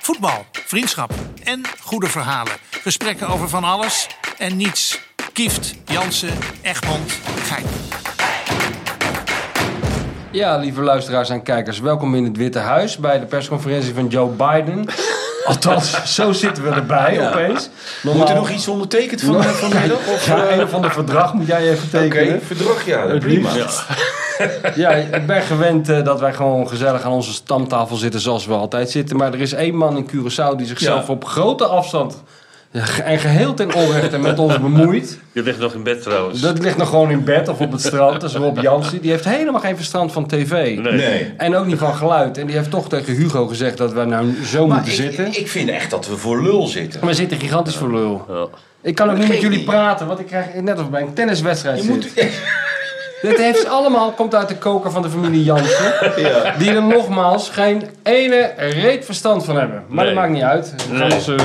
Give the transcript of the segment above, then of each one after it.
Voetbal, vriendschap en goede verhalen. Gesprekken over van alles en niets. Kieft, Jansen, Egmond, Gein. Ja, lieve luisteraars en kijkers, welkom in het Witte Huis bij de persconferentie van Joe Biden. Althans, zo zitten we erbij opeens. Normaal- Moet er nog iets ondertekend van, vanmiddag? Of, Ja, eh, een of ander verdrag moet jij even Oké, tekenen. verdrag ja, dat prima. Ja, ik ben gewend eh, dat wij gewoon gezellig aan onze stamtafel zitten zoals we altijd zitten. Maar er is één man in Curaçao die zichzelf Ja. op grote afstand ja, ge- en geheel ten onrechte met ons bemoeit. Je ligt nog in bed trouwens. Dat ligt nog gewoon in bed of op het strand. Dat is Rob Jansen. Die heeft helemaal geen verstand van tv. Nee. Nee. En ook niet van geluid. En die heeft toch tegen Hugo gezegd dat we nou zo Maar moeten ik, zitten. ik vind echt dat we voor lul zitten. Maar we zitten gigantisch voor lul. Ja. Ik kan ook niet met geeft jullie niet. praten, want ik krijg net als bij een tenniswedstrijd Je zit. moet... Dit heeft allemaal, komt uit de koker van de familie Jansen. Ja. Die er nogmaals geen ene reet verstand van hebben. Maar dat Nee. maakt niet uit. We gaan Nee. ons eh,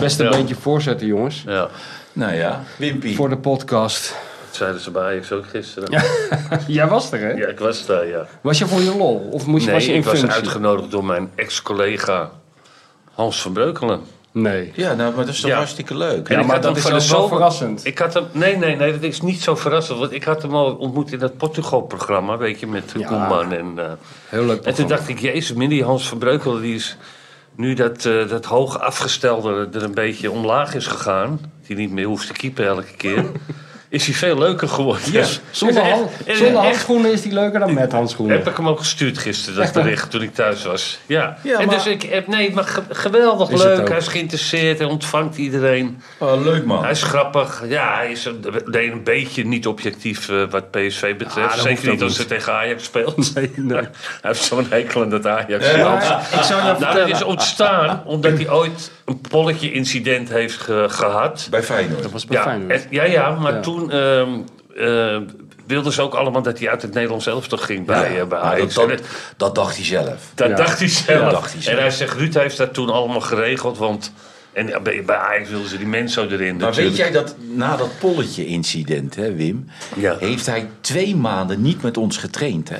beste Ja. beentje voorzetten, jongens. Ja, Nou ja, Wimpy. Voor de podcast. dat zeiden ze bij Ajax ook gisteren. Ja, Jij was er, hè? ik was daar, ja. Was je voor je lol? Of moest je, was je Nee, in ik was functie? uitgenodigd door mijn ex-collega Hans van Breukelen. Nee. Ja, nou, maar dat is toch Ja. hartstikke leuk. En Ja, ik maar had dat hem is van ook de wel zomer- verrassend. Ik had hem, nee, nee, nee, dat is niet zo verrassend. Want ik had hem al ontmoet in dat Portugal-programma, weet je, met Ja. ja. Koeman. En, eh, Heel leuk en toen programma. dacht ik, jezus, meneer die Hans van Breukelen, die is nu dat, eh, dat hoog afgestelde er een beetje omlaag is gegaan. Die niet meer hoeft te keepen elke keer. is hij veel leuker geworden. Dus- Zonder, en hand, echt- en zonder echt- handschoenen is die leuker dan met handschoenen. Heb ik hem ook gestuurd gisteren, dat Echt waar? bericht, toen ik thuis was. Ja, Ja, en maar- dus ik heb, nee, maar ge- geweldig Is het ook. leuk. Hij is geïnteresseerd, hij ontvangt iedereen. Oh, leuk man. Hij is grappig. Ja, hij is een, nee, een beetje niet objectief eh, wat PSV Ah, dat betreft. hoeft Zeker ook niet als niet. ze tegen Ajax speelt. Nee, nee. hij heeft zo'n hekel aan dat Ajax. Eh, Maar ik zou je Nou, dat vertellen. is ontstaan omdat hij ooit een polletje-incident heeft ge- gehad. Bij Feyenoord. Dat was bij Ja, Feyenoord. en- ja, ja, maar Ja. toen ehm, eh, wilden ze ook allemaal dat hij uit het Nederlands elftal ging bij, eh, Ah, bij Nou, dat, Ajax. dat, dat dacht hij zelf. Dat Ja. dacht hij zelf. Ja, dacht hij zelf. En hij zegt, Ruud heeft dat toen allemaal geregeld, want... En ja, bij, bij Ajax wilden ze die mens zo erin Maar weet natuurlijk. jij dat na dat polletje-incident, hè, Wim, Ja. heeft hij twee maanden niet met ons getraind. Hè?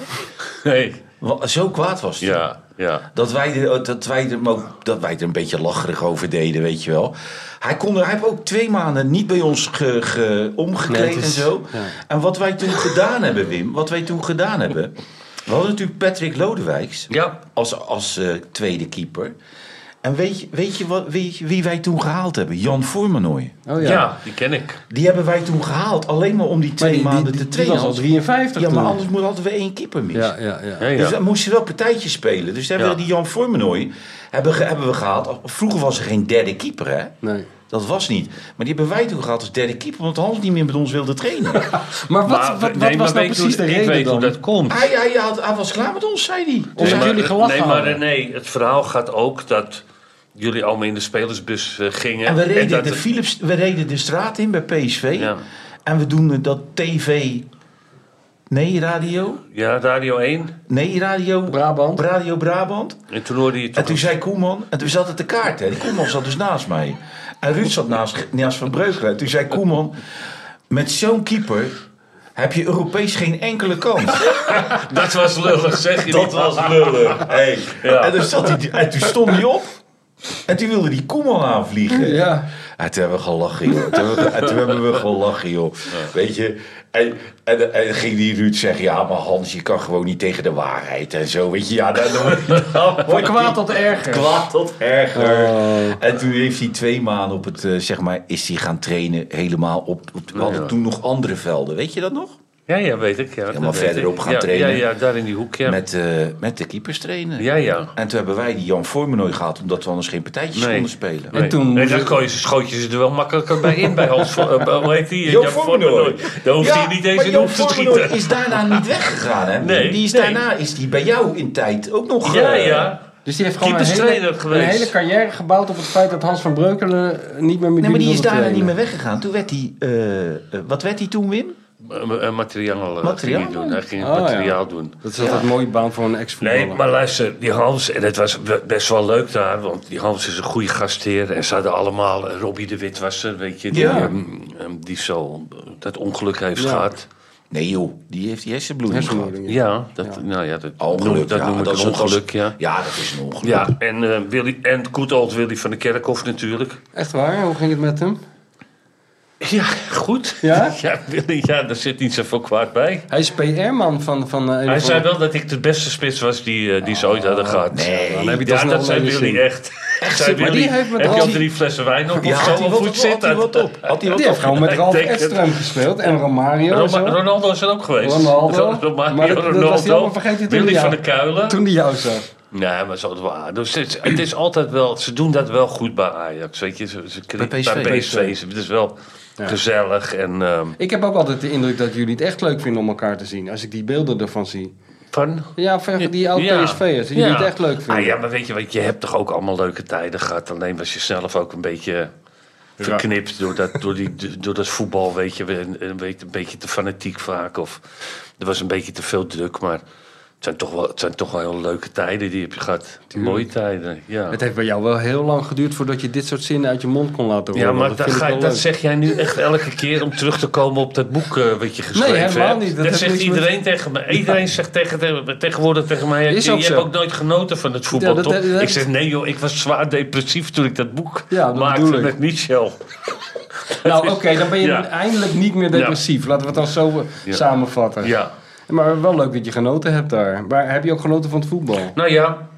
Nee. Wa- Zo kwaad was hij. Ja, ja. Dat wij, er, oh, dat, wij er, ook- dat wij er een beetje lacherig over deden, weet je wel. Hij, kon er, hij heeft ook twee maanden niet bij ons ge, ge- omgekleed Nee, het is- en zo. ja. En wat wij toen gedaan hebben, Wim, wat wij toen gedaan hebben. We hadden natuurlijk Patrick Lodewijks Ja. als, als eh, tweede keeper. En weet, je- weet je wat, wie, wie wij toen gehaald hebben? Jan Voormanoy. Oh ja, ja. die ken ik. Die hebben wij toen gehaald, alleen maar om die Maar twee die, die, maanden die, te die trainen. was al 53 ja, maar toen. anders moet- hadden we één keeper mis. Ja, ja, ja. Ja, ja. Dus dan moesten we wel partijtjes spelen. Dus hebben Ja. we die Jan Formenoy hebben, ge- hebben we gehaald. Vroeger was er geen derde keeper, hè? Nee. Dat was niet. Maar die hebben wij toen gehad als derde keeper, omdat Hans niet meer met ons wilde trainen. Maar wat, Maar, wat, wat nee, was maar nou weet precies hoe- de Ik reden weet dan? hoe dat komt. hij, hij, had- hij was klaar met ons, zei hij. Of Dus zijn hij- jullie gelachen Nee, maar hadden? nee, het verhaal gaat ook dat jullie allemaal in de spelersbus eh, gingen. en we reden, dat de het- Philips, we reden de straat in bij PSV. Ja. En we doen dat TV... Nee, radio? Ja, Radio 1. Nee, radio... Brabant. Radio Brabant. En toen hoorde je En toch... toen zei Koeman, en toen zat het de kaart, hè. Die Koeman zat dus naast mij. En Ruud zat naast, naast Van Breukelen. En toen zei Koeman, met zo'n keeper heb je Europees geen enkele kans. Dat was lullig, zeg je niet? lullen. Hey. Ja. En, toen zat hij, en toen stond hij op. En toen wilde die Koeman aanvliegen. Ja. En toen hebben we gelachen, joh. Toen hebben we, en toen hebben we gelachen, joh. Weet je? En, en, en ging die Ruud zeggen... Ja, maar Hans, je kan gewoon niet tegen de waarheid en zo. Weet je? Ja, dan, dan word je- dan word Van je- kwaad tot erger. Kwaad tot erger. Oh. En toen heeft hij twee maanden op het, eh, zeg maar, is hij gaan trainen helemaal op. op we hadden ja. toen nog andere velden, weet je dat nog? Ja, ja, weet ik. Ja, Helemaal dat weet verderop ik. gaan Ja, trainen. Ja, ja, daar in die hoek, ja. Met, eh, met de keepers trainen. Ja, ja. En toen hebben wij die Jan Formenoy gehad, omdat we anders geen partijtjes Nee. konden spelen. Nee. En toen nee, moest dan ik- kon je, schoot je ze er wel makkelijker bij in bij Hans van... eh, hoe heet die? Jan Jan Vormenoy. Vormenoy. Daar hoefde je niet eens maar in Jan hoef te Formenoy schieten. is daarna niet weggegaan, hè? Nee, die is nee. daarna is die bij jou in tijd ook nog. Ja, eh, ja. Dus die heeft gewoon een Keeperstrainer hele, een geweest. hele carrière gebouwd op het feit dat Hans van Breukelen eh, niet meer met Nee, maar die jullie is wilde daarna niet meer trainen. weggegaan. Toen werd hij. eh, eh, wat werd hij toen, Wim? Eh, eh, Materiaal, eh, Materiaal? ging hij doen. Hij ging Oh, het ja. materiaal doen. Dat is altijd een mooie baan voor een ex-voetballer. Nee, maar luister, die Hans, en het was be- best wel leuk daar, want die Hans is een goede gastheer. En ze hadden allemaal, eh, Robbie de Wit was er, weet je, die, Ja. ehm, ehm, die zo dat ongeluk heeft Ja. gehad. Nee joh, die heeft die hersenbloeding gehad. Hersenbloeding, ja. Ja, dat, Nou ja, dat, Oh, ongeluk, dat ja, noem ik dat een is een ongeluk, gas- ja. Ja, dat is een ongeluk. Ja, en, eh Willy, en goed old Willy van de Kerkhof natuurlijk. Echt waar? Hoe ging het met hem? Ja, goed. Ja? Ja, Willy, ja, daar zit niet zoveel kwaad bij. Hij is PR-man van... van eh, Hij van- zei wel dat ik de beste spits was die, eh, die ze ooit hadden gehad. Nee. Oh, Dan heb je Ja, toch dat nog zei wel Willy gezien. echt. Zei maar die Willy, heeft met heb je al Ralf- drie flessen wijn op Ja, of had zo? hij Of wat hoe op? zit Had hij dat? wat op? Had hij wat Die heeft op? gewoon met Ik Ralf denk het. Edström gespeeld. En Romario en Roma- zo. Ronaldo is er ook geweest. Ronaldo. Ro- Ro- Romario, Maar dat- dat was hij Ronaldo, allemaal vergeten toen Willy hij- van de Kuilen. Toen die jou zag. Nee, maar zo het waar. Dus het, is, het is altijd wel, ze doen dat wel goed bij Ajax. Weet je, ze, ze Bij PSV. Bij PSV. Het is wel gezellig. En, ehm, Ik heb ook altijd de indruk dat jullie het echt leuk vinden om elkaar te zien. Als ik die beelden ervan zie. van, Ja, ver- die oude Ja. PSV'ers. Die Ja. het echt leuk vinden. Ah, ja, maar weet je, wat, je hebt toch ook allemaal leuke tijden gehad. Alleen was je zelf ook een beetje verknipt door dat, door die, door dat voetbal. Weet je, een, een beetje- een beetje te fanatiek vaak. Of er was een beetje te veel druk. Maar het zijn toch wel, het zijn toch wel heel leuke tijden die heb je gehad. Mooie tijden, ja. Het heeft bij jou wel heel lang geduurd voordat je dit soort zinnen uit je mond kon laten horen. Ja, maar dat dat, vind ik ga, wel dat leuk. zeg jij nu echt elke keer om terug te komen op dat boek eh, wat je geschreven helemaal hebt. niet. Dat Dat, heeft zegt niks met- iedereen tegen me. Iedereen zegt tegen, tegen- tegenwoordig tegen mij, Is je, ook je zo. hebt ook nooit genoten van het voetbal, Ja, dat- toch? dat- dat- Ik zeg, nee joh, ik was zwaar depressief toen ik dat boek Ja, dat bedoel maakte ik. met Michel. Nou, oké, dan ben je Ja. eindelijk niet meer depressief. Laten we het dan zo eh, Ja. samenvatten. Ja. Maar wel leuk dat je genoten hebt daar. Maar heb je ook genoten van het voetbal? Nou ja.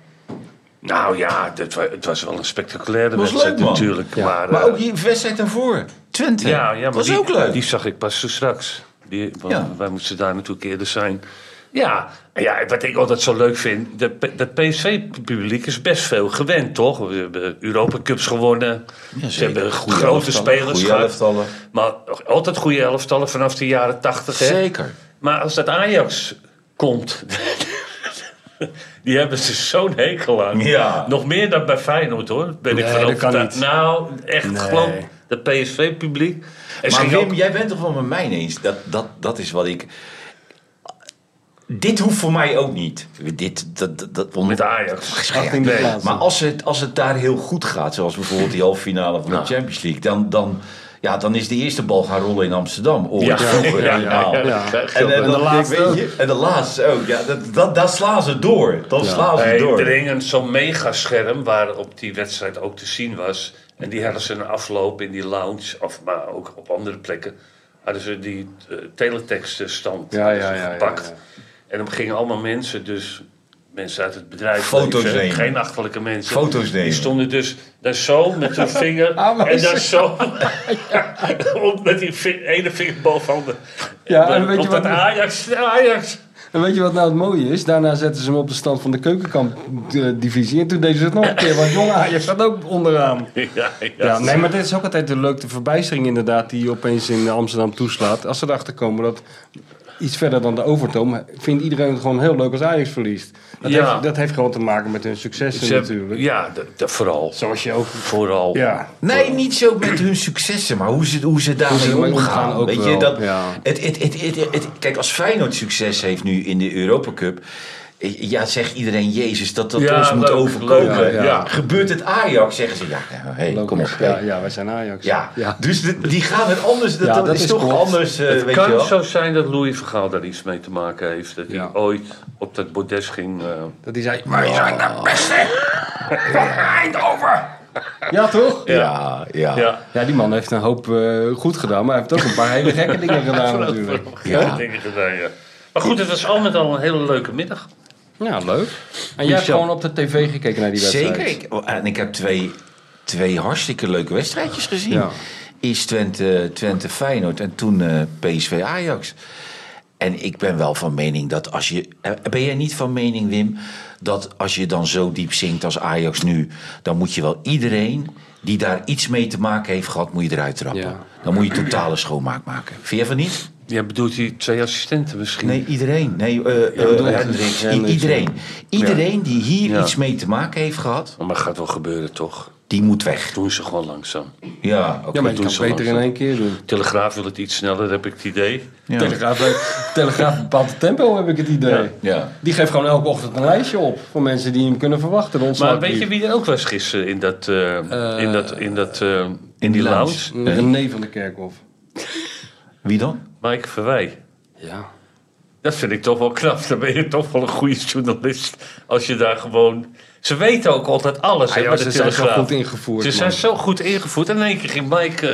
Nou ja, dit wa- het was wel een spectaculaire Dat was wedstrijd leuk, man. natuurlijk. Ja. Maar, Maar eh, ook die wedstrijd daarvoor. Twente. ja, ja, maar dat is die, ook leuk. Die zag ik pas zo straks. Die, want Ja. Wij moesten daar natuurlijk eerder zijn. Ja, en ja, wat ik altijd zo leuk vind, dat, P- dat PSV-publiek is best veel gewend, toch? We hebben Europa Cups gewonnen. Ze zeker. hebben Goeie grote elftallen, spelers goeie gehad. elftallen. Maar altijd goede elftallen vanaf de jaren tachtig. Zeker. Maar als dat Ajax komt, die hebben ze zo'n hekel aan. Ja. Nog meer dan bij Feyenoord hoor, ben ik Nee, van dat kan overtuigd. niet. Nou, echt geloof dat PSV-publiek. En ze Maar gingen Wim, ook- jij bent toch wel met mij eens? Dat, dat, dat is wat ik... Dit hoeft voor mij ook niet. Dit, dat, dat, dat, om- met Ajax. Ja, 18e nee, plaats. Maar als het, als het daar heel goed gaat, zoals bijvoorbeeld die halve finale van de Champions League, dan, dan, ja, dan is de eerste bal gaan rollen in Amsterdam. Ooit Ja. vroeger Ja, ja, helemaal. ja, ja. En, en, En de dan- laatste weet je, en de laatste ook. Ja, dat, dat, daar slaan ze door. Dan slaan ze Hey, door. er hing een zo'n megascherm waarop die wedstrijd ook te zien was. En die hadden ze een afloop in die lounge, of maar ook op andere plekken. Hadden ze die eh, teletekststand Ja, hadden ja, ze ja, ja, gepakt. ja. En dan gingen allemaal mensen, dus mensen uit het bedrijf. Foto's weet je, nemen. Geen achterlijke mensen. Foto's nemen. Die stonden dus daar zo met hun vinger. Ah, maar en ze- daar zo. op met die ving- ene vinger boven de. Ja, en weet je op dat wat- Ajax. Ajax. En weet je wat nou het mooie is? Daarna zetten ze hem op de stand van de keukenkamp-divisie. En toen deden ze het nog een keer. Want jongen, Ajax staat ook onderaan. Ja, ja. Ja, nee, maar dit is ook altijd de leuke verbijstering inderdaad... die je opeens in Amsterdam toeslaat. Als ze erachter komen dat iets verder dan de overtoom... vindt iedereen het gewoon heel leuk als Ajax verliest. Dat, Ja. heeft, dat heeft gewoon te maken met hun successen Ze hebben- natuurlijk. Ja, d- d- vooral. Zoals je ook... Vooral. Ja, Nee, niet zo met hun successen, maar hoe ze, hoe ze Hoe daarmee ze ermee omgaan. omgaan ook weet je, wel, dat, ja. het, het, het, het, het- kijk, als Feyenoord succes heeft nu in de Europa Cup... eh, Ja, zegt iedereen, Jezus, dat dat Ja, ons moet leuk, overkomen. leuk, ja. Ja. Gebeurt het Ajax, zeggen ze. Ja, nou, hey, logisch. kom op. hey. Ja, ja, wij zijn Ajax. Ja, dus de- die gaan het anders. Dat, Ja, dat dat is, is toch klopt. anders, eh, weet je kan wel. zo zijn dat Louis Vergaal daar iets mee te maken heeft. Dat Ja. hij ooit op dat bordes ging. eh, Dat die zei... Wij zijn de beste van Eindhoven. Ja, toch? Ja, ja. ja. ja, Ja, die man heeft een hoop eh, goed gedaan, maar hij heeft ook een paar hele gekke dingen gedaan natuurlijk. ja. dingen gedaan, ja. Maar goed, het was al met al een hele leuke middag. Ja, leuk. En jij hebt Michel. gewoon op de tv gekeken naar die wedstrijd. Zeker. Ik, oh, en ik heb twee, twee hartstikke leuke wedstrijdjes gezien. Ja. Eerst Twente, Twente Feyenoord en toen eh, PSV Ajax. En ik ben wel van mening dat als je... eh, Ben jij niet van mening, Wim, dat als je dan zo diep zinkt als Ajax nu... dan moet je wel iedereen die daar iets mee te maken heeft gehad, moet je eruit trappen. Ja. Dan moet je totale schoonmaak maken. Vind jij van niet? Ja, bedoelt hij twee assistenten misschien? Nee, iedereen. Nee, eh, eh, bedoel, Hendricks. I- Hendricks, iedereen. Iedereen die hier Ja. iets mee te maken heeft gehad, Oh, Maar gaat wel gebeuren, toch? die moet weg. Doen ze gewoon langzaam. Ja, oké. Ja, maar je Doe kan het zo beter langzaam. in één keer doen. Telegraaf wil het iets sneller, heb ik het idee. Ja. Telegraaf, eh, Telegraaf bepaalt het tempo, heb ik het idee. Ja. Die geeft gewoon elke ochtend een lijstje op voor mensen die hem kunnen verwachten. de Maar ontslagbrief. weet je wie er ook was gisteren in dat... eh, in dat, in dat eh, in die die lounge. lounge? René van de Kerkhof. Wie dan? Mike Verwij. Ja. Dat vind ik toch wel knap. Dan ben je toch wel een goede journalist. Als je daar gewoon. Ze weten ook altijd alles. hè, ja, bij ze de zijn zo Telegraaf. goed ingevoerd, Ze man. zijn zo goed ingevoerd. En in één keer ging Mike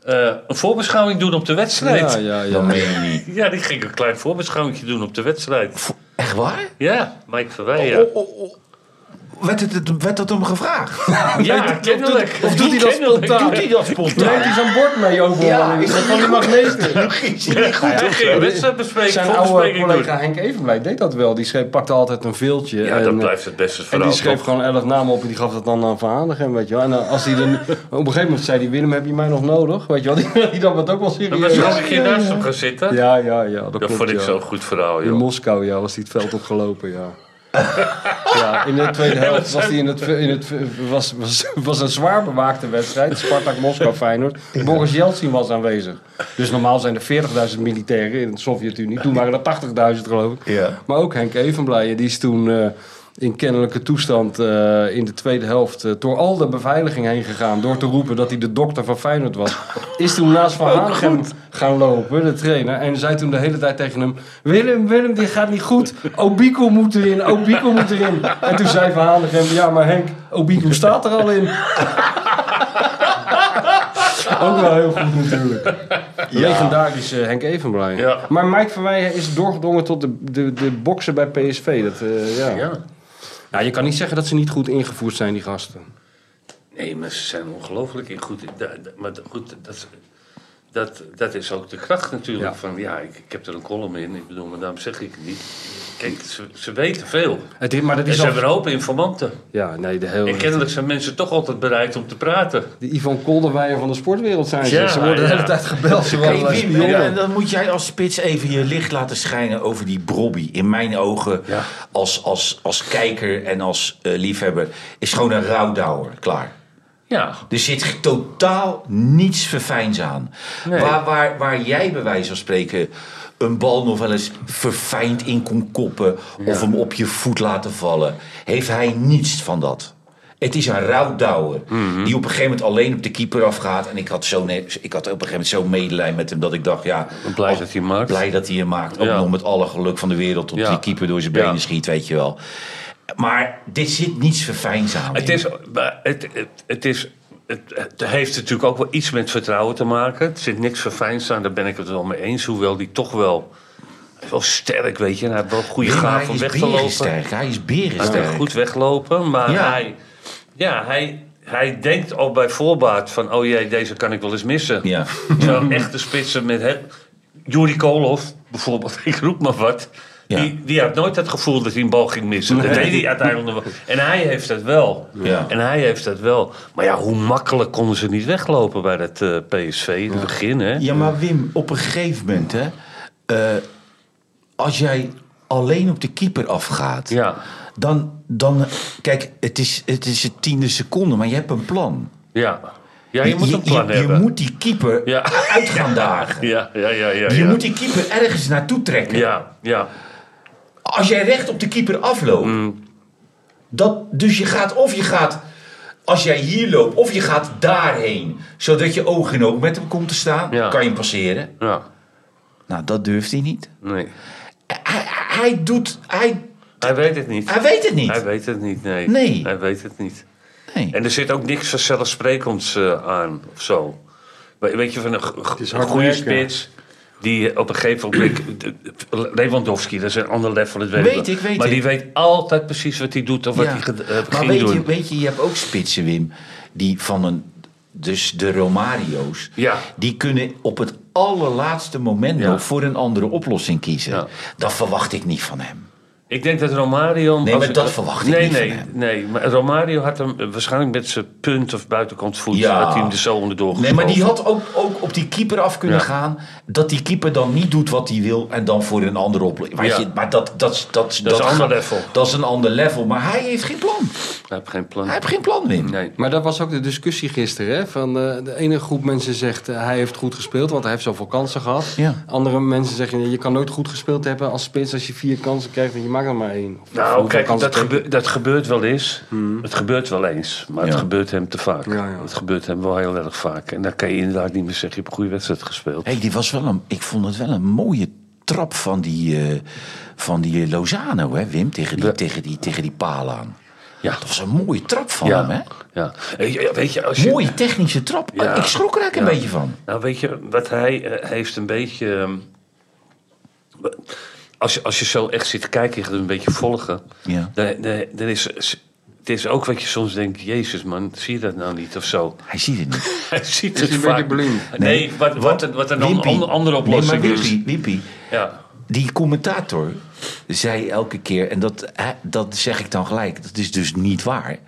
eh, eh, een voorbeschouwing doen op de wedstrijd. Ja, Ja, ja, Dat ja. meen je niet. die ging een klein voorbeschouwingje doen op de wedstrijd. Echt waar? Ja, Mike Verweijen. Oh, oh, oh. Werd, het, werd dat hem gevraagd? Ja, kennelijk. Of doet hij dat Kennelijk. spontaan? Doet hij dat spontaan? Neemt hij zo'n bord mee over? Ja, Ja, van die magneten. Ja, Toen ging wedstrijdbespreking, Zijn oude voorbespreking doen. collega Henk Evenblij deed dat wel. Die schreef, pakte altijd een viltje. Ja, dat en, eh, blijft het beste En verhaal. die schreef toch? gewoon elf namen op en die gaf dat dan aan Van Hanegem, weet je wel. En dan als hij dan, op een gegeven moment zei hij, Willem, heb je mij nog nodig? Weet je wel, die, die dan wat ook wel Dan was serieus. je een keer naast hem gaan zitten. Ja, ja, ja, dat, Dat klopt, vond ik ja. zo'n goed verhaal, In joh. Moskou, ja, was hij het veld opgelopen, ja. ja, in de tweede helft was hij in het, in het was, was, was een zwaar bewaakte wedstrijd. Spartak Moskou Feyenoord. Boris Yeltsin was aanwezig. Dus normaal zijn er 40.000 militairen in de Sovjet-Unie. Toen waren er 80.000 geloof ik. Ja. Maar ook Henk Evenblijen, die is toen eh, in kennelijke toestand eh, in de tweede helft eh, door al de beveiliging heen gegaan. Door te roepen dat hij de dokter van Feyenoord was. Is toen naast Van Hanegem gaan lopen, de trainer. En zei toen de hele tijd tegen hem: Willem, Willem, dit gaat niet goed. Obico moet erin, Obico moet erin. En toen zei Van Hanegem: Ja, maar Henk, Obico staat er al in. Ook wel heel goed natuurlijk. Legendarische Henk Evenblij. Ja. Maar Mike Verweijen is doorgedrongen tot de, de, de boksen bij PSV. Dat, eh, ja. Ja. Nou, je kan niet zeggen dat ze niet goed ingevoerd zijn, die gasten. Nee, maar ze zijn ongelooflijk in goed. da- da- Maar da- goed, dat, is- dat, dat is ook de kracht natuurlijk. Ja. Van, ja, ik, ik heb er een column in. Ik bedoel, maar daarom zeg ik het niet. Kijk, ze, ze weten veel. Het, is- maar dat En is ze al... hebben een hoop informanten. Ja, nee, de hele... En kennelijk zijn mensen toch altijd bereid om te praten. De Yvonne Kolderweijer van de sportwereld zijn ze. Ja, ze worden de hele ja. tijd gebeld. Ze worden Hey, Wim, spionnen. en, eh, dan moet jij als spits even je licht laten schijnen over die Brobby. In mijn ogen, Ja. als, als, als kijker en als eh, liefhebber, is gewoon een rouwdouwer. Klaar. Ja, Er zit totaal niets verfijns aan. Nee. Waar, waar, waar jij bij wijze van spreken een bal nog wel eens verfijnd in kon koppen... of hem op je voet laten vallen, heeft hij niets van dat. Het is een rouwdouwer Mhm. die op een gegeven moment alleen op de keeper afgaat. En ik had, zo ne- ik had op een gegeven moment zo medelijden met hem dat ik dacht... ja, blij ach, dat hij hem maakt. Blij dat hij hem maakt. Ook Ja. nog met alle geluk van de wereld op Ja. die keeper door zijn Ja. benen schiet, weet je wel. Maar dit zit niets verfijns aan. Het, is, maar het, het, het, is, het, het heeft natuurlijk ook wel iets met vertrouwen te maken. Er zit niks verfijnds aan, daar ben ik het wel mee eens. Hoewel die toch wel, hij is wel sterk, weet je. En hij heeft wel een goede Ja, maar gaaf hij om is weg te lopen. berensterk. Hij is Hij berensterk. kan goed weglopen, maar Ja. hij... Ja, hij, hij denkt al bij voorbaat van... oh jee, deze kan ik wel eens missen. Ja. Zo echte spitsen met... He, Juri Koolhof, bijvoorbeeld, ik roep maar wat... Ja. Die, die had nooit het gevoel dat hij een bal ging missen. Dat deed hij uiteindelijk nog wel. En hij heeft dat wel. Ja. En hij heeft dat wel. Maar ja, hoe makkelijk konden ze niet weglopen bij dat eh, PSV in het begin, hè? Ja, maar Wim, op een gegeven moment, hè, eh, als jij alleen op de keeper afgaat, Ja. dan, dan, kijk, het is, het is het tiende seconde, maar je hebt een plan. Ja, ja je moet een plan je, hebben. moet die keeper Ja. uit gaan dagen. Ja, ja, ja, ja. Je ja. moet die keeper ergens naartoe trekken. ja, ja. Als jij recht op de keeper afloopt, Mm. dat, dus je gaat of je gaat, als jij hier loopt, of je gaat daarheen, zodat je oog in oog met hem komt te staan, Ja. kan je hem passeren. ja. Nou, dat durft hij niet. Nee. Hij, hij doet. Hij, Hij weet het niet. hij weet het Hij niet. weet het niet, nee. Nee. Hij weet het niet. Nee. En er zit ook niks vanzelfsprekends eh, aan of zo. We- Weet je, van een, g- is een hard goede werken. spits. Die eh, op een gegeven moment. de- de- Lewandowski, dat is een ander level. Dat weet, Weet wel. ik, weet maar ik. die weet altijd precies wat hij doet of wat Ja. hij ge- eh, maar ging weet doen. je, weet je, je hebt ook spitsen, Wim, die van een. Dus de Romario's, Ja. die kunnen op het allerlaatste moment Ja. nog voor een andere oplossing kiezen. Ja. Dat verwacht ik niet van hem. Ik denk dat Romario... Nee, als- maar dat verwacht ik nee, niet van nee, hem. Nee, maar Romario had hem eh, waarschijnlijk met zijn punt of buitenkant voet... Ja. had hij hem er zo onderdoor Nee, maar die geschoven. had ook, ook op die keeper af kunnen Ja. gaan. Dat die keeper dan niet doet wat hij wil en dan voor een andere oplossing. Weet Ja. je, Maar dat, dat, dat, dat, een ander level. Dat is een ander level. Maar hij heeft geen plan. Hij heeft geen plan. Hij heeft geen plan, Wim. Nee. Maar dat was ook de discussie gisteren. Hè? Van, eh, de ene groep mensen zegt eh, hij heeft goed gespeeld, want hij heeft zoveel kansen gehad. Ja. Andere mensen zeggen je kan nooit goed gespeeld hebben als spits als je vier kansen krijgt en je maakt er maar één. Of- of Nou, hoeveel kijk, kansen dat, tegen- gebe- dat gebeurt wel eens. Het gebeurt wel eens, maar Ja. het gebeurt hem te vaak. Ja, ja. Het gebeurt hem wel heel erg vaak. En dan kan je inderdaad niet meer zeggen... je hebt een goede wedstrijd gespeeld. Hey, die was wel een, ik vond het wel een mooie trap van die, eh, van die Lozano, hè, Wim, tegen die, Ja. tegen, die, tegen die paal aan. Ja. Dat was een mooie trap van Ja, hem, hè? ja. Eh, ja, Weet je, als je, Mooie technische trap. Ja. Ik schrok er eigenlijk een Ja. beetje van. Nou, weet je, wat hij eh, heeft een beetje. ehm, als, je, als je zo echt zit te kijken, je gaat hem een beetje volgen. Ja. Dan, dan, dan is, het is ook wat je soms denkt: Jezus, man, zie je dat nou niet of zo? Hij ziet het niet. Hij ziet Is het hij een vaak. beetje blind? Nee, wat, wat, wat een Wimpy. andere, andere oplossing nee, maar is. Wimpy, Wimpy, Ja. die commentator zei elke keer, en dat, hè, dat zeg ik dan gelijk, dat is dus niet waar.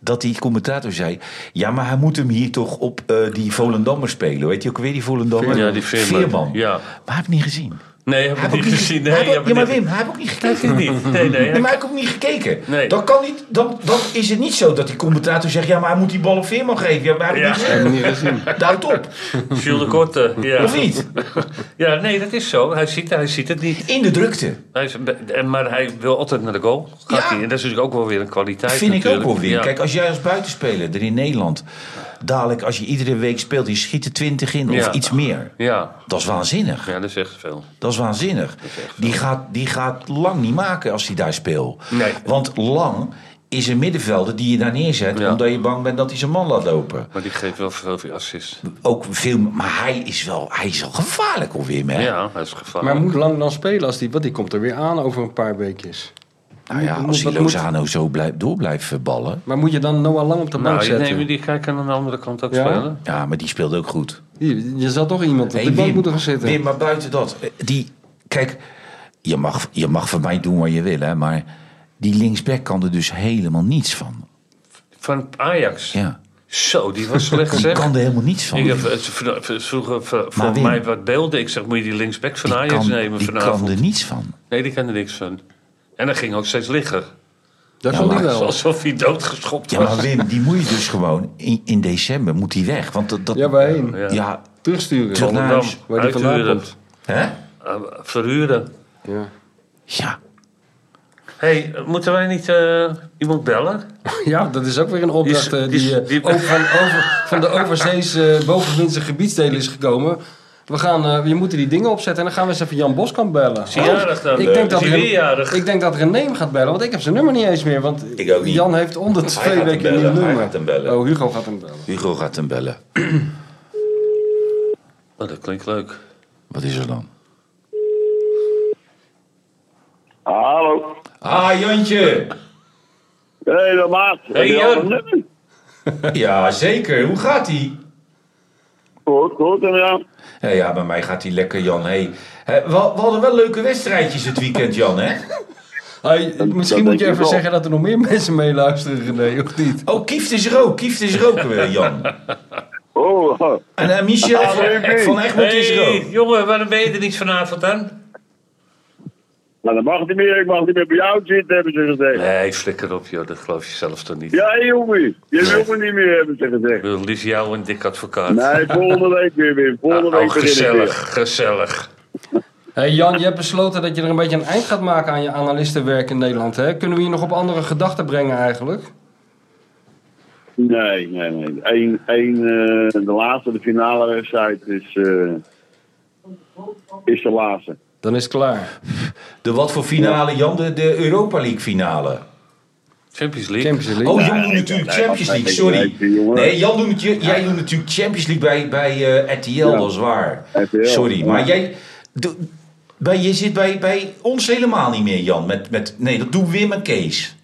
Dat die commentator zei: Ja, maar hij moet hem hier toch op eh, die Volendammer spelen. Weet je ook weer die Volendammer? Ja, die Veerman. Ja. Maar hij heeft het niet gezien. Nee, heb Hij heeft ik niet ook niet gezien. gezien. Nee, Hij heeft ook- heb Ja, ik maar niet- Wim, hij heeft ook niet Kijk gekeken. het niet. Nee, nee. Nee, maar hij heeft ook niet gekeken. Nee. Dan, kan niet, dan, dan is het niet zo dat die commentator zegt: Ja, maar hij moet die bal op Veerman geven. Ja, maar hij heeft Ja. niet gezien. Niet gezien. Daar houdt op. Jules de Korte. Ja. Of niet? ja, nee, dat is zo. Hij ziet, hij ziet het niet. In de drukte. Hij is, en- maar hij wil altijd naar de goal. Gaat Ja. hij. En dat is natuurlijk ook wel weer een kwaliteit. Vind ik ook natuurlijk. wel weer. Ja. Kijk, als jij als buitenspeler er in Nederland dadelijk, als je iedere week speelt, je schiet er 20 in of Ja. iets meer. Ja, Dat is waanzinnig. ja dat is echt veel. Dat is waanzinnig. Die gaat, die gaat lang niet maken als hij daar speelt. Nee. Want lang is een middenvelder die je daar neerzet Ja. omdat je bang bent dat hij zijn man laat lopen. Maar die geeft wel veel veel assist. Ook veel, maar hij is wel, hij is wel gevaarlijk hoor Wim. Hè? Ja, hij is gevaarlijk. Maar moet Lang dan spelen als die... Want die komt er weer aan over een paar weekjes. Nou ja, Moet- als moet- hij wat moet- Lozano zo blijft, door blijft verballen. Maar moet je dan Noah Lang op de bank nou, ik zetten? neem die kijk aan de andere kant ook Ja? spelen. Ja, maar die speelde ook goed. Je, je zal toch iemand op Hey, de bank Wim, moeten gaan zitten? Wim, maar buiten dat. eh, Die, kijk, je mag, je mag van mij doen wat je wil, hè, maar die linksback kan er dus helemaal niets van. Van Ajax. Ja. Zo, die was slecht Die zeg. kan er helemaal niets van. Ik heb eh, vro- v- vroeger v- voor Wim- mij wat beelden. Ik zeg, moet je die linksback van Die Ajax kan- nemen die kan vanavond? er niets van. Nee, die kan er niks van. En dan ging ook steeds liggen. Dat Ja, zal die maar- wel. Alsof hij doodgeschopt Ja, was. maar Wim, die moet je dus gewoon in, in december moet die weg. Want dat, dat, Ja, waarheen? Ja. ja, Terugsturen. Terug naar- Rotterdam, Waar die vandaan uithuren, komt. hè? eh, verhuren. Ja. Ja. Hé, hey, moeten wij niet eh, iemand bellen? ja, dat is ook weer een opdracht Die is- eh, die is- die, eh, die- ook van, over, van de overzees eh bovengrondse gebiedsdelen is gekomen. We, gaan, eh, we moeten die dingen opzetten en dan gaan we eens even Jan Boskamp bellen. Oh, Is hij jarig dan? ik, denk Is dat hij Ren- weer jarig? ik denk dat René hem gaat bellen, want ik heb zijn nummer niet eens meer. Want Ik ook niet. Jan heeft onder twee gaat hem weken een nieuw bellen, hij nummer. gaat hem bellen. Oh, Hugo gaat hem bellen. Hugo gaat hem bellen. Oh, dat klinkt leuk. Wat is er dan? Hallo. Ah, Jantje! Hey, dat maat. Heb je Jan. al een nummer? Ja, zeker. Hoe gaat ie? Goed, goed, en ja. Ja, ja, bij mij gaat hij lekker, Jan. Hey, hè, we, we hadden wel leuke wedstrijdjes het weekend, Jan, hè? Hey, Eh, misschien moet denk je ik even wel. zeggen dat er nog meer mensen meeluisteren, René, of niet? Oh, kieft is rook, kieft is roken weer, Jan. Oh, ha. En eh, Michel van, van Egmond is hey, rook. jongen, waarom ben je er niet vanavond dan? nou, dat mag niet meer. Ik mag niet meer bij jou zitten, hebben ze gezegd. Nee, flikker op joh, dat geloof je zelf toch niet. Ja, jongen. Je wil me niet meer, hebben ze Ik gezegd. wil liefst jou een dik advocaat. Nee, volgende week weer, Wim. Volgende Ah, oh, week beginnen we weer. gezellig, gezellig. Hey Jan, je hebt besloten dat je er een beetje een eind gaat maken aan je analistenwerk in Nederland. Hè? Kunnen we je nog op andere gedachten brengen eigenlijk? Nee, nee, nee. Eén, één, eh, de laatste, de finale wedstrijd is, eh, is de laatste. Dan is het klaar. De wat voor finale, Jan? De, de Europa League finale. Champions League. Champions League. Oh, Jan doet natuurlijk Champions League, sorry. Nee, Jan doet, je- jij doet natuurlijk Champions League bij, bij eh, RTL, dat is waar. RTL, Sorry, ja. maar jij... doe- bij, je zit bij, bij ons helemaal niet meer, Jan. Met, met, nee, dat doen Wim en Kees.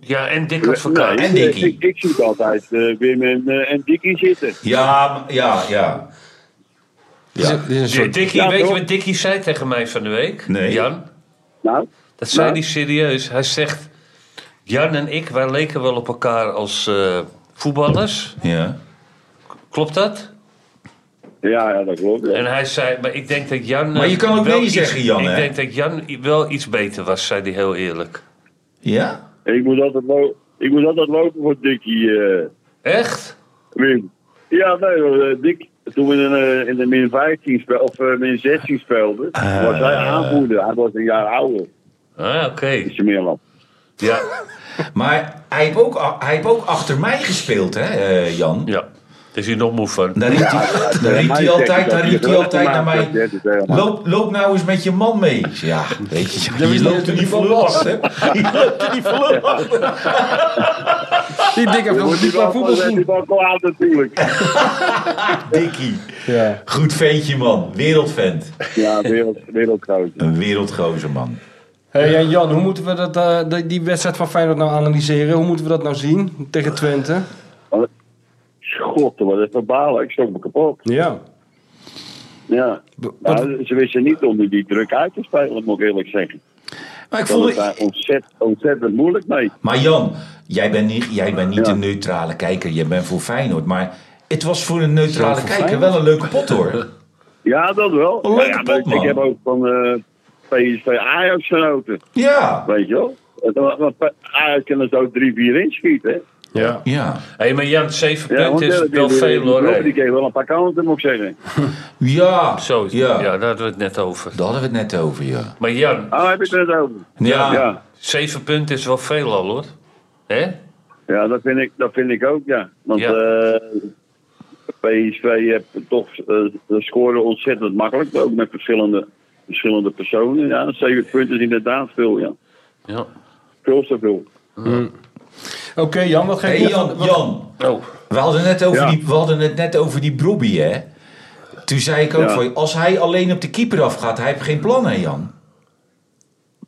Ja, en dik advocaat. Nee, eh, en Dickie. Ik, ik zie altijd eh, Wim en, eh, en Dickie zitten. Ja, maar- ja, ja. Dus- Dit is een- Ja. dit is een Ja, soort... Dickie, Ja, weet je toch? wat Dickie zei tegen mij van de week? Nee. Jan, Nou, dat zei Nou? hij serieus. Hij zegt, Jan en ik, wij leken wel op elkaar als eh, voetballers. Ja. Klopt dat? ja, ja, dat klopt. ja. En hij zei, maar ik denk dat Jan... eh, Maar je kan ook wel nee iets- zeggen, Jan, Ik hè? denk dat Jan i- wel iets beter was, zei hij heel eerlijk. Ja? Ik moet altijd, lo- ik moet altijd lopen voor Dickie, eh, Echt? Wim. Ja, nee, eh, Dick, toen we in, eh, in de min 15 speel, of eh, min 16 speelden, Ah. was hij aanvoerder. Hij was een jaar ouder, Ah, oké. is je meer Ja, Maar hij heeft, ook, hij heeft ook achter mij gespeeld, hè, eh, Jan? ja. Daar is hij nog moe van. Daar riep hij, daar riep hij altijd, daar riep hij altijd naar mij. Loop, loop nou eens met je man mee. Ik zei, Ja, weet je, je, loopt er niet voor last, hè? Je loopt er niet voor lul. Die dik heeft Dan nog wordt een paar hij wel- dan werd hij voetbalschoen. wel kwaad natuurlijk. Dikkie. Ja. Goed ventje, man. Wereldvent. Ja, wereld, wereldgoud. Een wereldgozer, man. Hey, en Jan, hoe moeten we dat, eh, die- die wedstrijd van Feyenoord nou analyseren? Hoe moeten we dat nou zien tegen Twente? God, wat is dat balen. Ik schrok me kapot. Ja. Ja. Wat- Nou, ze wisten niet om die druk uit te spelen, moet ik eerlijk zeggen. Maar ik Dat voel was daar ontzettend, ontzettend moeilijk mee. Maar Jan, jij bent niet, jij bent niet Ja. een neutrale kijker. Je bent voor Feyenoord. Maar het was voor een neutrale voor kijker Feyenoord? wel een leuke pot, hoor. Ja, dat wel. Een leuke Ja, maar pot, ik- man. ik heb ook van eh, PSV Ajax genoten, Ja. weet je wel. Want- want Ajax kan er zo 3-4 inschieten. hè. Ja. Ja. hey, maar Jan, 7 Ja, want punten is die- wel die- veel die- hoor. die- hè. Die kreeg wel een paar kanten, moet ik zeggen. Ja. Zo, ja. ja. ja, daar hadden we het net over. Daar hadden we het net over, ja. Maar Jan, Oh, heb ik het net over? Ja. Ja, 7 punten is wel veel al hoor. Hè? ja dat, vind ik, dat vind ik ook, ja. Want Ja. eh, PSV heeft toch eh scoren ontzettend makkelijk, ook met verschillende, verschillende personen. Ja, zeven punten is inderdaad veel, ja. Ja. Veel te veel. Oké, Jan, wat ga je Hé, Jan, Jan. Oh, We hadden, net over Ja. die, we hadden het net over die Brobbey, hè? Toen zei ik ook Ja. van, als hij alleen op de keeper afgaat, hij heeft geen plan, hè, Jan?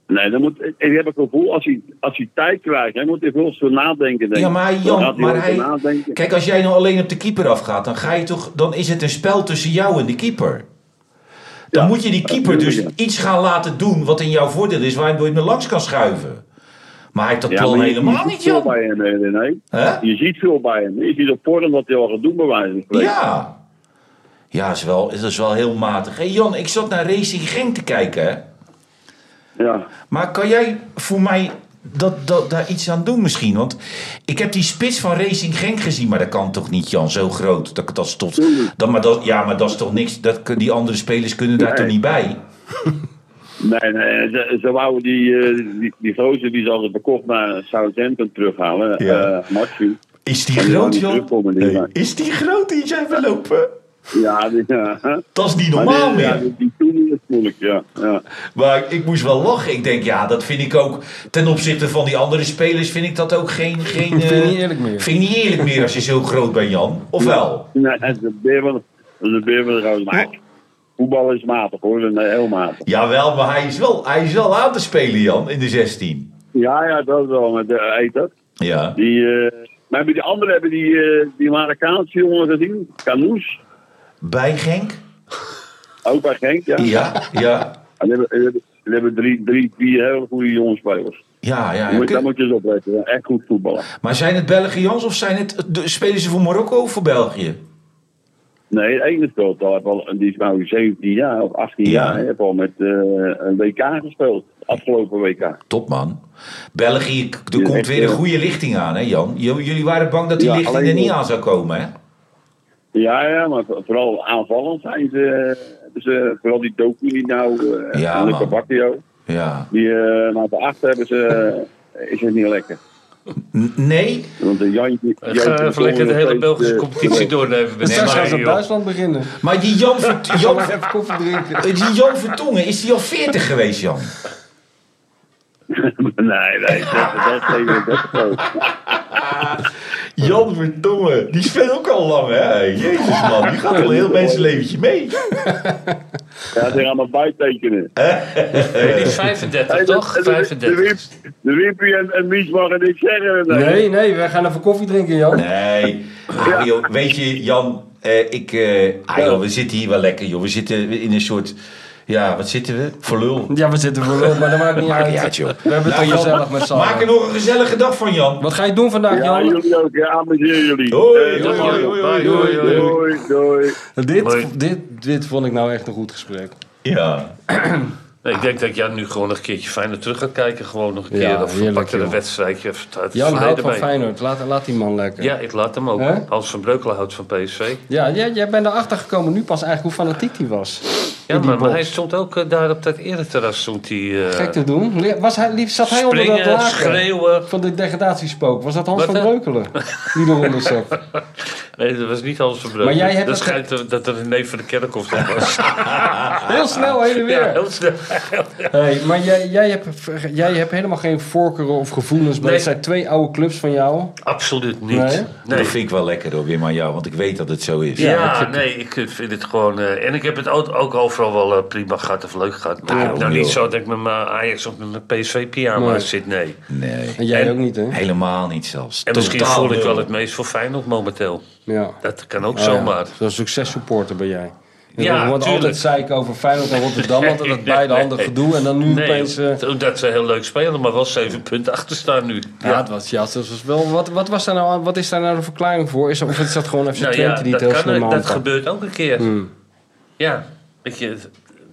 Nee, dan moet, ik heb het gevoel, als hij, als hij tijd krijgt, hij moet hij veel zo nadenken. Denk. ik. Ja, maar hij- Dan gaat Jan, maar over hij... nadenken. Kijk, als jij nou alleen op de keeper afgaat, dan, ga je toch, dan is het een spel tussen jou en de keeper. Dan Ja, moet je die keeper natuurlijk, dus ja. iets gaan laten doen wat in jouw voordeel is, waardoor je hem er langs kan schuiven. Maar hij heeft dat Ja, plan maar je- je helemaal ziet niet, veel Jan. bij hem, nee, nee, nee. Hè? Je ziet veel bij hem. Je ziet op voorhand wat hij al gaat doen, bij wijze van spreken. Ja. Ja, is wel, dat is wel heel matig. Hé, Jan, ik zat naar Racing Genk te kijken, hè? Ja. Maar kan jij voor mij dat, dat, daar iets aan doen misschien? Want ik heb die spits van Racing Genk gezien, maar dat kan toch niet, Jan? Zo groot. Dat, dat is toch, dat, maar dat, ja, maar dat is toch niks? Dat, kun- die andere spelers kunnen daar Nee. toch niet bij? Nee, nee, ze, ze wouden die, eh, die, die gozer die ze hadden verkocht naar Southampton terughalen. eh Ja. Matthew. Is die Maar die wou groot, niet Jan? terugkomen, die Nee. man. Is die groot die jij verlopen? Ja, die, ja. Dat is niet Maar normaal die, ja, meer. die, die toen is moeilijk, ja. ja. Maar ik moest wel lachen. Ik denk, ja, dat vind ik ook... Ten opzichte van die andere spelers vind ik dat ook geen... geen Vind je eh, niet eerlijk meer? Vind ik niet eerlijk meer als je zo groot bent, Jan. Of wel? Nee, dat is een beer van dat is een beer van de gozer. Maar voetbal is matig hoor, dat is heel matig. Jawel, maar hij is, wel, hij is wel aan te spelen, Jan, in de 16. Ja, ja, dat wel. Met de eet dat. Ja. Die, eh, maar hebben die anderen hebben die, eh die Marokkaanse jongen gezien? Canoes, Bij Genk? ook bij Genk, ja. Ja, ja. En die hebben, die hebben, die hebben drie, drie, vier hele goede jongenspelers. Ja, ja. Daar moet- Daar ja. moet je eens op letten, ja. echt goed voetballen. Maar zijn het Belgians of zijn het, de- spelen ze voor Marokko of voor België? Nee, de ene speelt al, heeft al- die is nou 17 jaar of 18 Ja. jaar, hè, heeft al met eh, een WK gespeeld, afgelopen WK. Top man. België, k- er Ja, komt echt, weer een ja. goede lichting aan, hè Jan? J- jullie waren bang dat die Ja, lichting alleen- er niet aan zou komen, hè? Ja, ja, maar voor- vooral aanvallend zijn ze. Dus, eh, vooral die docu die nou, Ja, eh ja, Luca man. Bacchio, Ja. die eh naar de achter hebben ze, eh, is het niet lekker. N- nee? Want de Jantje... eh, ik ga even lekker de hele eh, Belgische competitie eh, doornemen. Dus met straks z'n gaan ze allen, op joh. Duitsland beginnen. Maar die Jan, Vert- Ik zal Jan, eh, nog even koffie drinken. die Jan Vertongen, is die al 40 geweest, Jan? nee, nee, dat, dat is even dat is zo. Jan Vertongen, die speelt ook al lang, hè? Jezus man, die gaat al een heel mensenleventje mee. Ja, ze gaan maar bijtekenen. Nee, die is 35 Hey, toch? de- de- De 35. Wiep- de Wiepie en, en Mies mogen niks zeggen. Nee, nee, wij gaan even koffie drinken, Jan. Nee. Ah, joh, weet je, Jan, eh, ik, eh, ah, joh, we zitten hier wel lekker, joh. We zitten in een soort, ja, wat zitten we? Voor lul. Ja, we zitten voor lul, maar dat maakt niet uit. niet uit, joh. We hebben het Nou, toch Jan, gezellig met z'n Maak er allen. nog een gezellige dag van, Jan. Wat ga je doen vandaag, Ja, Jan? jullie ook. Ja, amuseer jullie. Hoi, Eh, hoi, tot hoi, dan. hoi, hoi, hoi, Doei, hoi. doei, doei. Hoi. Nou, Dit, dit, dit vond ik nou echt een goed gesprek. Ja. Nee, ik denk dat Jan nu gewoon nog een keertje fijner terug gaat kijken. Gewoon nog een Ja, keer. Of we heerlijk, pakken een joh. wedstrijdje even uit het Jan houdt verleden van mee. Feyenoord. Laat, laat die man lekker. Ja, ik laat hem ook. Hè? Hans van Breukelen houdt van PSV. Ja, jij, jij bent erachter gekomen nu pas eigenlijk hoe fanatiek hij was. Ja, maar, maar box. hij stond ook eh, daar op dat ereterras. Stond hij eh, Gek te doen. Le- Was hij, lief, zat hij onder dat springen, laken schreeuwen. van de degradatiespook? Was dat Hans van Wat, hè? Breukelen die eronder zat? Nee, dat was niet Hans Verbroek. Maar jij hebt dat het schijnt eh, dat er een neef van de kerkhof was. Heel snel heen en weer. Ah, ja, heel snel. Hey, maar jij, jij, hebt, jij hebt helemaal geen voorkeuren of gevoelens. Maar Nee. het zijn twee oude clubs van jou. Absoluut niet. Nee? Dat vind ik wel lekker hoor, Wim, aan jou. Want ik weet dat het zo is. Ja, nee, ik vind het gewoon... eh, en ik heb het ook, ook overal wel eh, prima gehad of leuk gehad. Maar ik heb ook nou wel. niet zo dat ik met mijn Ajax of met mijn PSV-pyjama Nee. zit, nee. Nee, En jij En- ook niet, hè? helemaal niet zelfs. En misschien Totaal voel ik wel nul. het meest voor Feyenoord momenteel. Ja. Dat kan ook Ah, zomaar. ja. Zo'n successupporter ben jij. Ja, Ja, wordt tuurlijk. altijd zeik over Feyenoord en Rotterdam. Altijd dat beide handen gedoe. En dan nu Nee, opeens... eh, dat ze heel leuk spelen, maar wel zeven punten achter staan nu. ja, het was, ja, het was wel, wat, wat, was daar nou, aan- wat is daar nou de verklaring voor? Is, dat- of is dat gewoon FC Nou Twente ja, die het dat, heel kan, slim dat handhaft? gebeurt ook een keer. Hmm. Ja, dat je,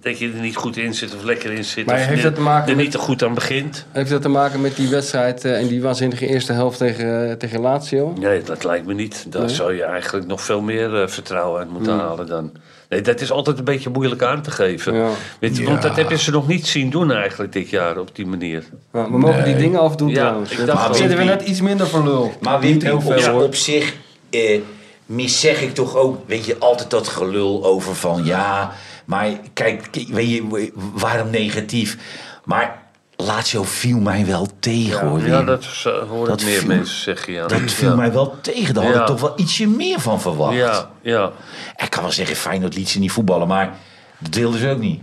dat je er niet goed in zit of lekker in zit. Maar of heeft je dat te maken er met- niet te goed aan begint. Heeft dat te maken met die wedstrijd eh, en die waanzinnige eerste helft tegen, eh, tegen Lazio? Nee, dat lijkt me niet. Daar zou je eigenlijk nog veel meer eh, vertrouwen uit moeten Hmm. halen dan. Nee, dat is altijd een beetje moeilijk aan te geven. Ja. Weet je, Want dat hebben ze nog niet zien doen eigenlijk dit jaar op die manier. Nou, we mogen die dingen afdoen Ja, trouwens. ik Dat- dacht We wel. zitten we net iets minder voor lul. Maar Wim, heel op, veel, ja, hoor. op zich eh, mis zeg ik toch ook, weet je, altijd dat gelul over van ja, maar kijk, k- weet je, waarom negatief? Maar Lazio viel mij wel tegen hoor, Wim. Ja, dat dat is, eh, hoor Dat ik meer viel- mensen zeggen. Ja. viel ja. mij wel tegen, daar had Ja. ik toch wel ietsje meer van verwacht. Ja, ja. Ik kan wel zeggen, Feyenoord liet ze niet voetballen, maar dat deelden ze ook niet.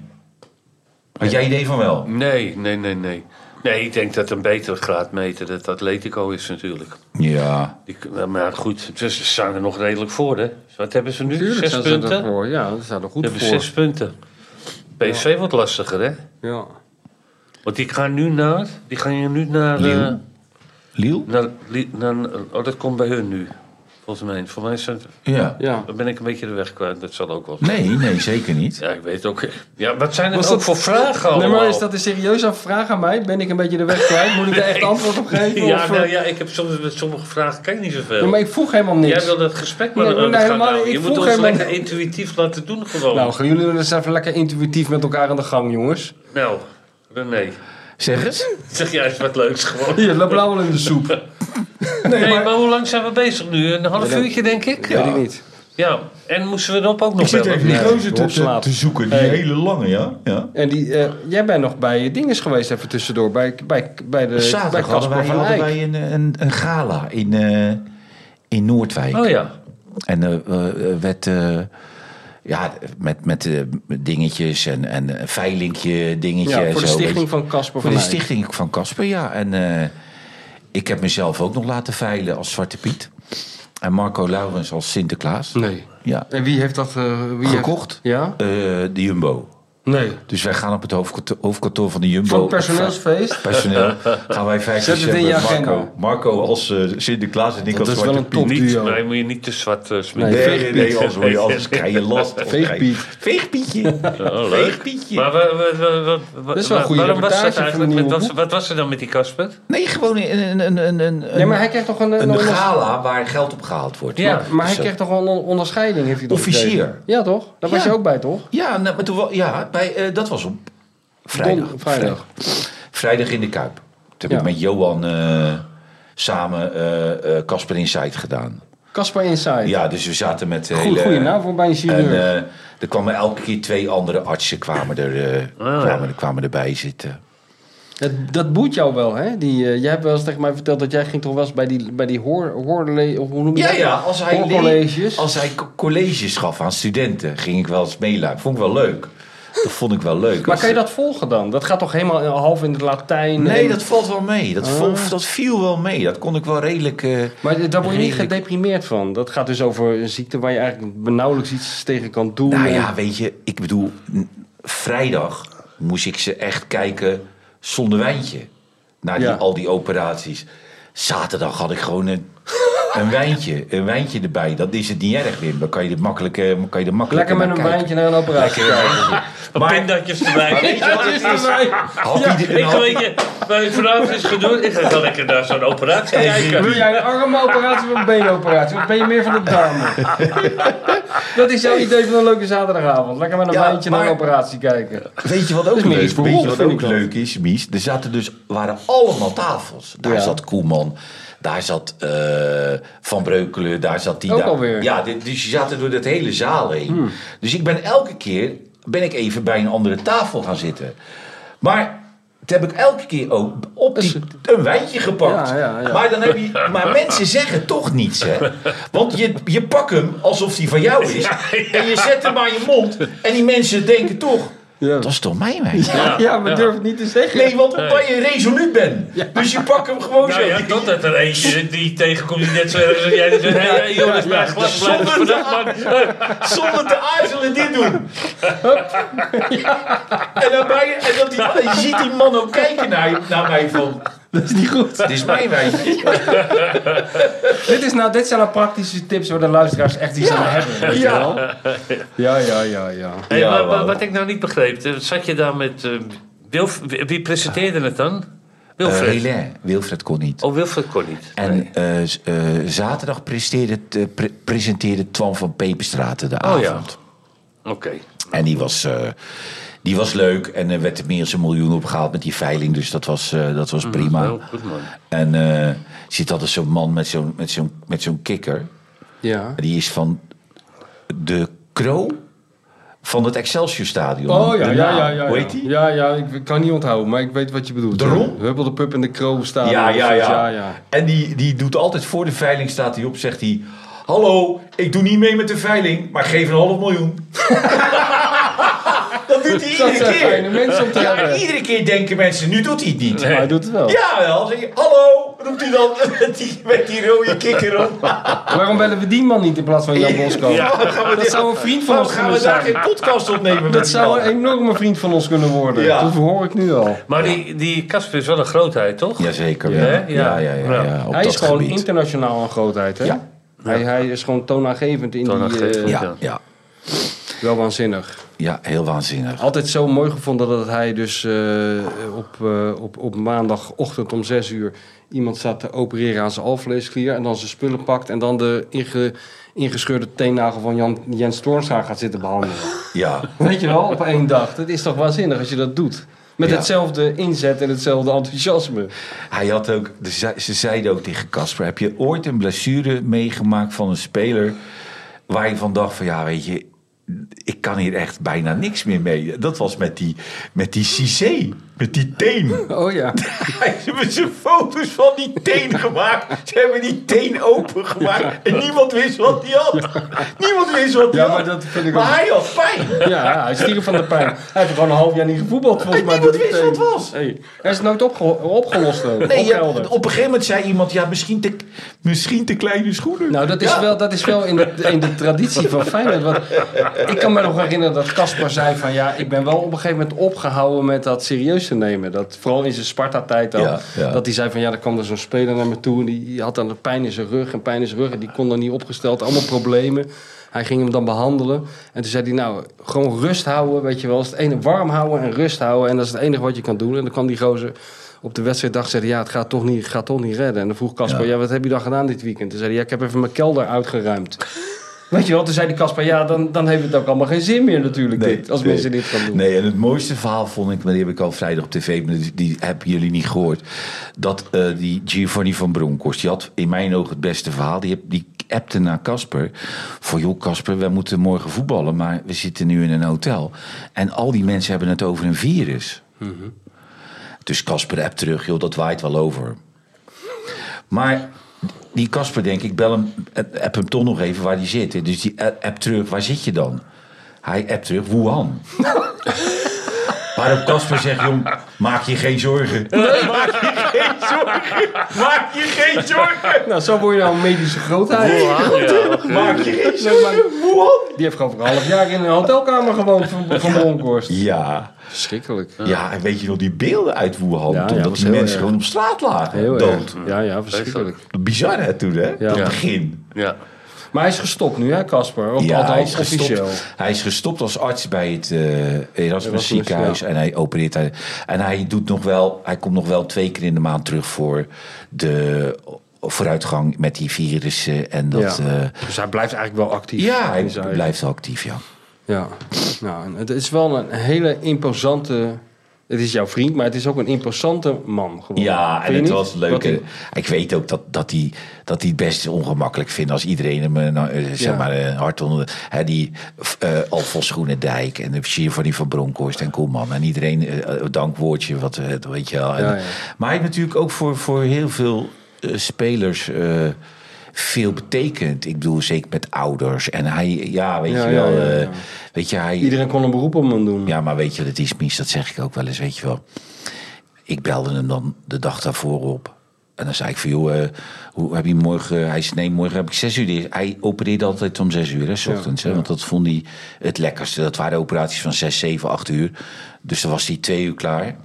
Had jij idee van wel? Nee, nee, nee, nee. Nee, ik denk dat een betere graadmeter dat Atletico is natuurlijk. Ja. Die, maar goed, ze staan er nog redelijk voor, hè? Dus Wat hebben ze nu? Tuurlijk zes zijn ze punten? Ze ervoor. Ja, dat staat er goed hebben voor. zes punten. PSV wordt lastiger, hè? Ja. Want die gaan nu naar... Die gaan nu naar... eh, Lille? Liel? naar, Li- naar- oh, dat komt bij hun nu. Volgens mij. Voor mij zijn, Ja. ja. dan ben ik een beetje de weg kwijt. Dat zal ook wel. Nee, nee, zeker niet. Ja, ik weet ook. Ja, wat zijn Was het ook dat- voor vragen Nee, allemaal? maar is dat een serieuze vraag aan mij? Ben ik een beetje de weg kwijt? Moet ik daar echt antwoord op geven? ja, of, eh, nou, ja, ik heb soms met sommige vragen kijk niet zoveel. Ja, maar ik vroeg helemaal Jij niks. wil dat gesprek maar Ja, aan de nee, gang helemaal houden. niet. Je Ik moet vroeg ons helemaal lekker intuïtief laten doen gewoon. Nou, Nou, gaan jullie eens even lekker intuïtief met elkaar aan de gang, jongens. Nou, René, Zeg eens. zeg jij eens wat leuks gewoon. Hier, loop blauw wel in de soep. Nee, maar... hoe lang zijn we bezig nu? Een half uurtje denk ik? Weet ik niet. Ja, en moesten we Rob ook nog bellen? Nee, Rob slaapt. zoeken, die hele lange, ja? ja. En die, eh, jij bent nog bij eh, dinges geweest even tussendoor. Bij, bij, bij de Eh, bij Zaterdag hadden Casper wij, van hadden Eyck. wij een, een, een gala in, eh, in Noordwijk. Oh ja. En eh, eh, werd... eh, ja, met, met eh, dingetjes en, en een veilingje dingetje. Ja, en voor de zo, weet stichting je. van Casper Voor van de Eyck. stichting van Casper, ja. En eh, ik heb mezelf ook nog laten veilen als Zwarte Piet. En Marco Laurens als Sinterklaas. Nee. Ja. En wie heeft dat... eh, wie heeft- Gekocht? Ja? Eh, de Jumbo. Nee. Dus wij gaan op het hoofdkantoor, hoofdkantoor van de Jumbo. Van het op personeelsfeest? personeel gaan wij 5 Zet het in december je agenda. Marco, Marco als eh, Sinterklaas en ik Dat als is wel Zwarte een Piet. Niet, topduo. nee, moet je niet te zwart eh, sminken. Nee, nee, Veegpiet. nee, als word je anders krijg je last. anders krijg je- Veegpiet. Veegpietje. Oh, leuk. Veegpietje. Maar wa- wa- wa- wa- wa- Dat is wel een goede waarom was dat reportage van eigenlijk? Nieuwe Met- was- Boek. wat was er dan met die Kasper? Nee, gewoon een, een, een, een, Nee, maar een, hij krijgt toch een... een een onderscheiding? gala waar geld op gehaald wordt. Ja. Maar hij Zo. kreeg toch wel een on- onderscheiding? Heeft hij toch dus, eh, Officier. gekregen? Ja, toch? Daar was Ja. je ook bij, toch? Ja, nou, maar toen, wel- ja bij, eh, dat was op vrijdag. Don- vrijdag. Vrijdag in de Kuip. Toen heb Ja. ik met Johan eh, samen eh, eh, Casper Insight gedaan. Casper Inside. Ja, dus we zaten met de Goed, hele... goede naam voor bij een En chirurg. eh, er kwamen elke keer twee andere artsen kwamen, er, eh, kwamen, er- kwamen erbij zitten. dat, dat boeit jou wel, hè? Die, eh, jij hebt wel eens tegen mij verteld dat jij ging toch wel eens bij die, bij die hoor, hoorle, of hoe noem je Ja, dat? ja, als hij, le- Hoorcolleges. als hij co- colleges gaf aan studenten, ging ik wel eens meeluisteren. Vond ik wel leuk. Dat vond ik wel leuk. Maar Als- kan je dat volgen dan? Dat gaat toch helemaal half in het Latijn? Nee, Ah. en- dat valt wel mee. Dat, vol- dat viel wel mee. Dat kon ik wel redelijk... eh, Maar daar word je niet Redelijk. gedeprimeerd van. Dat gaat dus over een ziekte waar je eigenlijk nauwelijks iets tegen kan doen. Nou En- ja, weet je, ik bedoel, n- vrijdag moest ik ze echt kijken zonder wijntje. Naar die, Ja. al die operaties. Zaterdag had ik gewoon een, een wijntje, een wijntje erbij. Dat is het niet erg, Wim. Dan kan je er makkelijk, eh, kan je er makkelijk Lekker met een wijntje naar een operatie kijken. Pindatjes erbij. Had ieder- Ik had- weet je, mijn vanavond is gedoe. Ik ga wel lekker naar zo'n operatie Wil kijken. jij een armoperatie of een beenoperatie? Of ben je meer van de darmen? dat is jouw idee van een leuke zaterdagavond. Lekker met een Ja, wijntje naar een maar- operatie kijken. Weet je wat ook is meer leuk, iets voor weet je Rolf, wat vind ook ik dat. leuk is, Mies? Er zaten dus, waren allemaal tafels. Daar Ja. zat Koeman, Daar zat eh, Van Breukelen, daar zat die. Ook daar. alweer. Hmm. Ja, dit- dus je zaten door dat hele zaal heen. Dus ik ben elke keer ben ik even bij een andere tafel gaan zitten. Maar toen heb ik elke keer ook op die, een wijntje gepakt. Ja, ja, ja. Maar, dan heb je, maar mensen zeggen toch niets, hè. Want je, je pakt hem alsof die van jou is. En je zet hem aan je mond. En die mensen denken toch... Ja, Dat is toch mijn wijntje? ja maar durf het niet te zeggen. Nee, want omdat je resoluut bent. Dus je pakt hem gewoon Nou zo. ja, totdat er eentje zit die tegenkomt die net zo erg is als jij. Die zegt, hé, hey, jongens, maar glas blijven Zonder vandaag, man. Zonder te aarzelen dit doen. En, dan ben je, en dat Nou. die, je ziet die man ook kijken naar, je- naar mij van... Dat is niet goed. Dit is Eh, mijn wijntje. dit, is nou, dit zijn nou praktische tips waar de luisteraars echt iets aan hebben. Weet ja. Je wel? ja, ja, ja, ja. Hey, Ja, maar, maar wel. wat ik nou niet begreep, eh, zat je daar met... eh, Wilf, wie wie presenteerde het dan? Eh, Wilfred. Relain. Wilfred kon niet. oh, Wilfred kon niet. En eh, z- eh, zaterdag presteerde, t- eh, pre- presenteerde Twan van Peperstraten de Oh avond. ja. Oké. En die was, eh, die was leuk en er werd er meer dan een miljoen opgehaald met die veiling. Dus dat was, eh, dat Mm, was prima. Heel goed, man. En eh, er zit altijd zo'n man met zo'n met zo'n met zo'n kikker. ja. Die is van de Kro van het Excelsior Stadion. Oh ja, De ja, naam. ja, ja. Hoe heet die? Ja, ja, ik ik kan niet onthouden, maar ik weet wat je bedoelt. De ja. Rom? Huppel de Pup en de Kroon staan. Ja, er, ja, dus ja. ja, ja. En die, die doet altijd voor de veiling staat hij op, zegt hij... Hallo, ik doe niet mee met de veiling, maar geef een half miljoen. dat doet hij Dat iedere zijn fijne keer. mensen om te Ja, hebben. iedere keer denken mensen, nu doet hij het niet. Maar hij doet het wel. Ja, wel. Zeg je, hallo, roept hij dan met die, met die rode kikker op. Waarom bellen we die man niet in plaats van Jan Bosko? Dat zou een vriend van Waarom ons gaan kunnen we daar zijn. geen podcast opnemen met Dat die zou man? een enorme vriend van ons kunnen worden. Ja. Dat hoor ik nu al. Maar die, die Casper is wel een grootheid, toch? Jazeker. Ja, Ja, ja, ja. ja, ja. ja, op hij dat is gewoon gebied. internationaal een grootheid, hè? Ja. Hij, hij is gewoon toonaangevend in die... Toonaangevend, eh, Ja, ja, Wel waanzinnig. ja, heel waanzinnig. Altijd zo mooi gevonden dat hij dus eh, op, eh, op, op maandagochtend om 6 uur iemand staat te opereren aan zijn alvleesklier. En dan zijn spullen pakt en dan de inge, ingescheurde teennagel van Jan, Jens Toornstra gaat zitten behandelen. Ja, Weet je wel, op één dag. Dat is toch waanzinnig als je dat doet. Met Ja. hetzelfde inzet en hetzelfde enthousiasme. hij had ook, de- ze ze zeiden ook tegen Casper, heb je ooit een blessure meegemaakt van een speler waar je van dacht van, ja, weet je, ik kan hier echt bijna niks meer mee. Dat was met die, met die Cissé, met die teen. Oh ja. Hij heeft zijn foto's van die teen gemaakt. Ze hebben die teen opengemaakt. En niemand wist wat hij had. Niemand wist wat hij Ja, had. maar dat vind ik Maar ook- hij had pijn. Ja, hij stierf van de pijn. Hij heeft gewoon een half jaar niet gevoetbald volgens En mij. niemand door die wist wat teen. het was. Nee, Hij is nooit opge- opgelost. ook. Nee, ja, op Opgehelderd. een gegeven moment zei iemand... Ja, misschien te, misschien te kleine schoenen. Nou, dat is Ja. wel, dat is wel in, de, in de traditie van Feyenoord. Want ik kan me nog herinneren dat Caspar zei van... ja, ik ben wel op een gegeven moment opgehouden met dat serieus te nemen. Dat, vooral in zijn Sparta-tijd al. Ja, ja. Dat hij zei van, ja, dan kwam er zo'n speler naar me toe... en die, die had dan een pijn in zijn rug en pijn in zijn rug... en die kon dan niet opgesteld, allemaal problemen. Hij ging hem dan behandelen. En toen zei hij, nou, gewoon rust houden, weet je wel. Dat is het ene, warm houden en rust houden. En dat is het enige wat je kan doen. En dan kwam die gozer op de wedstrijddag zei hij, ja, het gaat toch niet, gaat toch niet redden. En dan vroeg Casper, ja. wat heb je dan gedaan dit weekend? Toen zei hij, ja, ik heb even mijn kelder uitgeruimd. Weet je wel, toen zei die Casper, ja, dan, dan heeft het ook allemaal geen zin meer natuurlijk, Nee, dit, als nee. mensen dit gaan doen. Nee, en het mooiste verhaal vond ik, maar die heb ik al vrijdag op tv, maar die, die hebben jullie niet gehoord. Dat eh, die Giovanni van Bronckhorst, die had in mijn ogen het beste verhaal. Die, heb- die appte naar Casper. Voor joh, Casper, wij moeten morgen voetballen, maar we zitten nu in een hotel. En al die mensen hebben het over een virus. Dus Casper app terug, joh, dat waait wel over. Maar die Casper, denk ik, bel hem, app hem toch nog even waar hij zit. hè. Dus die app terug, waar zit je dan? Hij app terug, Wuhan. Waarop Casper zegt, jong, maak je geen zorgen. maak je geen zorgen. Nou, zo word je nou een medische grootheid. Maak je geen zorgen. Nee, maar Wuhan. Die heeft gewoon voor een half jaar in een hotelkamer gewoond van, van Bronkhorst. Ja, Verschrikkelijk. ja, en weet je nog die beelden uit Wuhan? Ja, toen ja, dat was die heel mensen erg. gewoon op straat lagen, Heel dood. erg. Ja, ja, verschrikkelijk. Bizar hè, toen hè, dat Ja. begin. Ja. Maar hij is gestopt nu, hè, Casper? Of Ja, hij is, althans gestopt, officieel. hij is gestopt als arts bij het eh, Erasmus Erasmus, ziekenhuis. ja. En hij opereert. daar- En hij, doet nog wel, hij komt nog wel twee keer in de maand terug voor de vooruitgang met die virussen. En dat, ja. ja, dus hij blijft eigenlijk wel actief. ja hij in zijn- blijft wel actief, ja. Ja, nou, en het is wel een hele imposante Het is jouw vriend, maar het is ook een imposante man geworden. Ja, Vind en je het niet? was leuk. Wat hè. hij- Ik weet ook dat, dat, die, dat die het best ongemakkelijk vindt als iedereen hem eh, nou, eh, zeg Ja. maar, eh, hard onder. de- Hè, die eh Alfons Groenendijk en de versier van die van Bronkhorst en Koeman. En iedereen eh, eh, dankwoordje, wat eh, dat weet je wel. En- Ja, ja. Maar hij heeft natuurlijk ook voor, voor heel veel eh, spelers. eh, veel betekend. Ik bedoel, zeker met ouders. En hij, ja, weet Ja, je ja, wel. ja, eh, ja. Weet je, hij, Iedereen kon een beroep om hem doen. ja, maar weet je, dat is mis, dat zeg ik ook wel eens, weet je wel. Ik belde hem dan de dag daarvoor op. En dan zei ik van, joh, eh, hoe heb je morgen... Hij zei, nee, morgen heb ik zes uur. dicht. Hij opereerde altijd om zes uur, hè, 's ochtends. hè, Want dat vond hij het lekkerste. Dat waren operaties van zes, zeven, acht uur. Dus dan was hij twee uur klaar.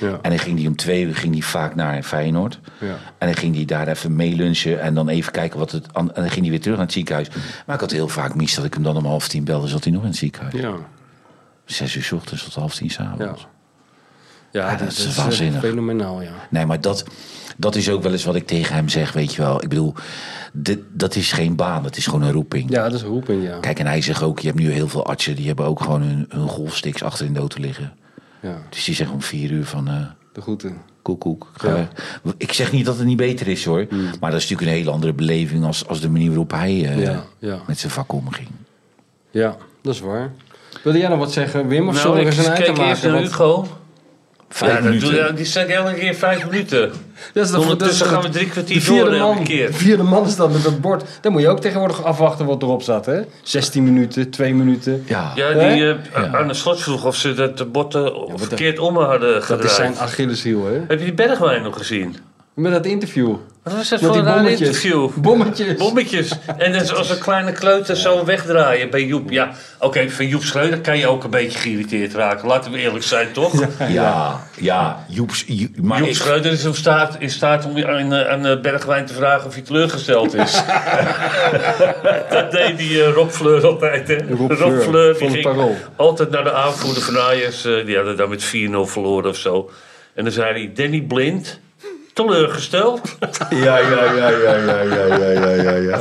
Ja. En dan ging hij om twee uur ging hij vaak naar Feyenoord. Ja. En dan ging hij daar even meelunchen en dan even kijken wat het... an- En dan ging hij weer terug naar het ziekenhuis. Maar ik had heel vaak mis dat ik hem dan om half tien belde... zat hij nog in het ziekenhuis. Ja, Zes uur 's ochtends tot half tien ja. s'avonds. Ja, dat is eh, waanzinnig. Fenomenaal, ja. Nee, maar dat, dat is ook wel eens wat ik tegen hem zeg, weet je wel. Ik bedoel, dit, dat is geen baan, dat is gewoon een roeping. Ja, dat is een roeping, ja. Kijk, en hij zegt ook, je hebt nu heel veel artsen... die hebben ook gewoon hun, hun golfsticks achter in de auto liggen. ja. Dus die zeggen om vier uur van... eh, De groeten. Koek, koek. Ga- Ja. Hmm. Ik zeg niet dat het niet beter is hoor. Maar dat is natuurlijk een hele andere beleving als, als de manier waarop hij eh, Ja, ja. met zijn vak omging. Ja, dat is waar. Wilde jij nog wat zeggen, Wim? Of zullen we Nou, ik er eens een eind aan keek eerst maken? naar Want- Hugo. Vijf ja, dat minuten. Doe, ja, die zet elke keer vijf minuten. Dat is de- Ondertussen dat is de- gaan we drie kwartier de vierde door elke man, keer. De vierde man is dat met dat bord. Dan moet je ook tegenwoordig afwachten wat erop staat, hè? 16 minuten, 2 minuten. Ja. Ja, Hè? die eh, Arne Slot vroeg of ze dat de botten verkeerd om hadden dat is gedraaid. zijn Achilleshiel, hè? Heb je die Bergwijn nog gezien? Met dat interview. Wat was dat Met voor die een raar bommetjes. interview? Bommetjes. Bommetjes. En dan als een kleine kleuter zo wegdraaien bij Joep. Ja, oké, van Joep Schreuder kan je ook een beetje geïrriteerd raken. Laten we eerlijk zijn, toch? Ja, ja, Joeps, Joep- maar Joep ik- Schreuder is in staat, in staat om aan, eh, aan eh, Bergwijn te vragen of hij teleurgesteld is. dat deed die eh, Rob Fleur altijd. Hè? Rob Fleur, van het Parool. altijd naar de aanvoerder van Ajax. eh, die hadden daar met 4-0 verloren of zo. En dan zei hij, Danny Blind, teleurgesteld. Ja, ja, ja, ja, ja, ja, ja, ja, ja, ja.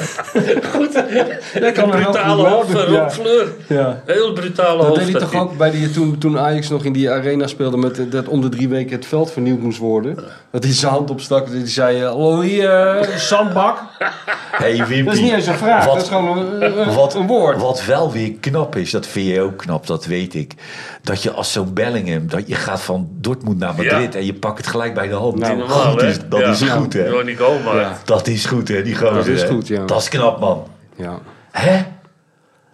Goed, Hij een kan er heel brutale goed hoofd van mee, Rob ja. Fleur. Ja. Heel brutale Dat hoofd. deed hij toch hij. ook bij die, eh, toen, toen Ajax nog in die arena speelde met eh, dat om de drie weken het veld vernieuwd moest worden. Dat hij zijn hand opstak en die zei, eh, hallo hier, eh, zandbak. Hey, Wimpy. Dat is niet eens een vraag, Wat- dat is gewoon een, een- Wat, een woord. wat wel weer knap is, dat vind je ook knap, dat weet ik. Dat je als zo'n Bellingham, dat je gaat van Dortmund naar Madrid Ja. en je pakt het gelijk bij de hand. Nou, dat Normaal, hè? is, dat Ja. is goed, hè? Johnny Goma. Ja. Dat is goed, hè, die gozer. Dat is hè? goed, ja. Dat is knap, man. Ja. Hè?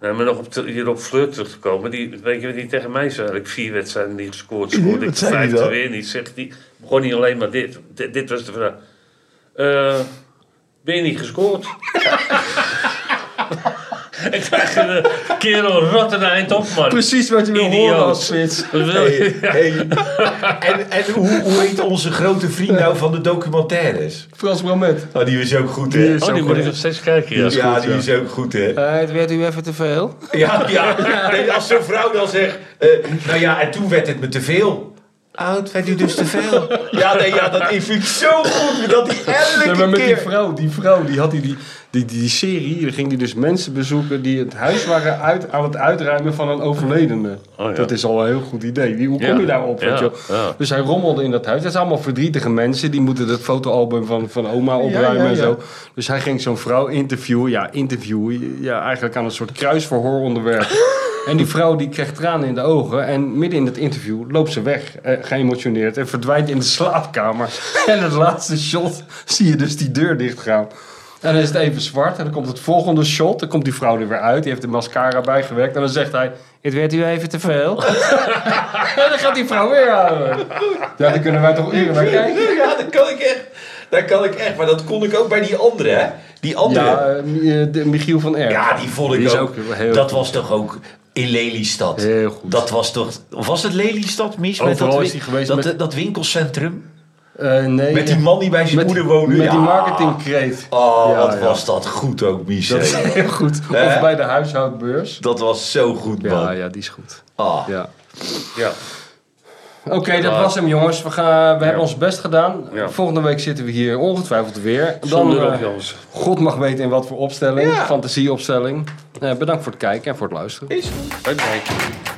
Nee, maar nog op te- hier op Fleur terug te komen. Die, weet je wat hij tegen mij zei? Ik vier wedstrijden niet gescoord. Scoorde ik Mhm, wat de zei hij vijfde dan? weer niet. Zegt hij, begon niet alleen maar dit. Dit, dit was de vraag. Eh ben je niet gescoord? ik dacht, eh, kerel, rot een eind op, man. Precies wat je wil Idioot. horen als spits. Wat wil je? Oh, Hey, hey. En, en hoe, hoe heet onze grote vriend nou van de documentaires? Frans Bromet. Nou, die is ook goed, Die hè? is- Oh, die ook moet ik goed. nog steeds kijken, ja. Ja, goed, die ja. is ook goed, hè? Eh, het werd u even te veel. Ja, ja. Nee, als zo'n vrouw dan zegt, eh, nou ja, en toen werd het me te veel. Oud werd u dus te veel. Ja, nee, ja, dat vind ik zo goed. Dat die elke Nee, maar met die keer... vrouw, die vrouw, die had die, die, die, die serie, daar ging die dus mensen bezoeken die het huis waren uit, aan het uitruimen van een overledene. Oh, ja. Dat is al een heel goed idee. Wie- Hoe kom Ja. je daarop? weet Ja, je? wel? ja. Dus hij rommelde in dat huis. Dat zijn allemaal verdrietige mensen, die moeten het fotoalbum van, van oma opruimen ja, en ja. zo. Dus hij ging zo'n vrouw interviewen, ja, interviewen, ja, eigenlijk aan een soort kruisverhooronderwerp. En die vrouw die krijgt tranen in de ogen. En midden in het interview loopt ze weg, eh, geëmotioneerd. En verdwijnt in de slaapkamer. En het laatste shot zie je dus die deur dichtgaan. En dan is het even zwart. En dan komt het volgende shot. Dan komt die vrouw er weer uit. Die heeft de mascara bijgewerkt. En dan zegt hij... Het werd u even te veel. en dan gaat die vrouw weer aan. Ja, daar kunnen wij toch uren naar kijken. Ja, dat kan ik echt. Dat kan ik echt. Maar dat kon ik ook bij die andere, hè? Die andere. Ja, Ja, eh, Mi- eh, de Michiel van Erp. die vond ik Die is ook. ook heel dat goed. was toch ook in Lelystad. Heel goed. Dat was toch... Was het Lelystad, Mies? Overal dat, is wi- die geweest Dat, met- dat winkelcentrum. Eh, nee, Met die man die bij zijn Met- moeder woonde. Met die Ja. marketingkreet. Oh, Ja, wat ja. was dat goed ook, Mies. Dat is hè? heel goed. Of Eh? bij de huishoudbeurs. Dat was zo goed, man. Ja, ja, die is goed. Ah. Ja. Ja. Oké, dat was hem jongens. We, gaan, we hebben ons best gedaan. Ja. Volgende week zitten we hier ongetwijfeld weer. Dan, Zonder ook, eh, jongens. God mag weten in wat voor opstelling. Ja. Fantasieopstelling. Eh, bedankt voor het kijken en voor het luisteren. Bye, bye.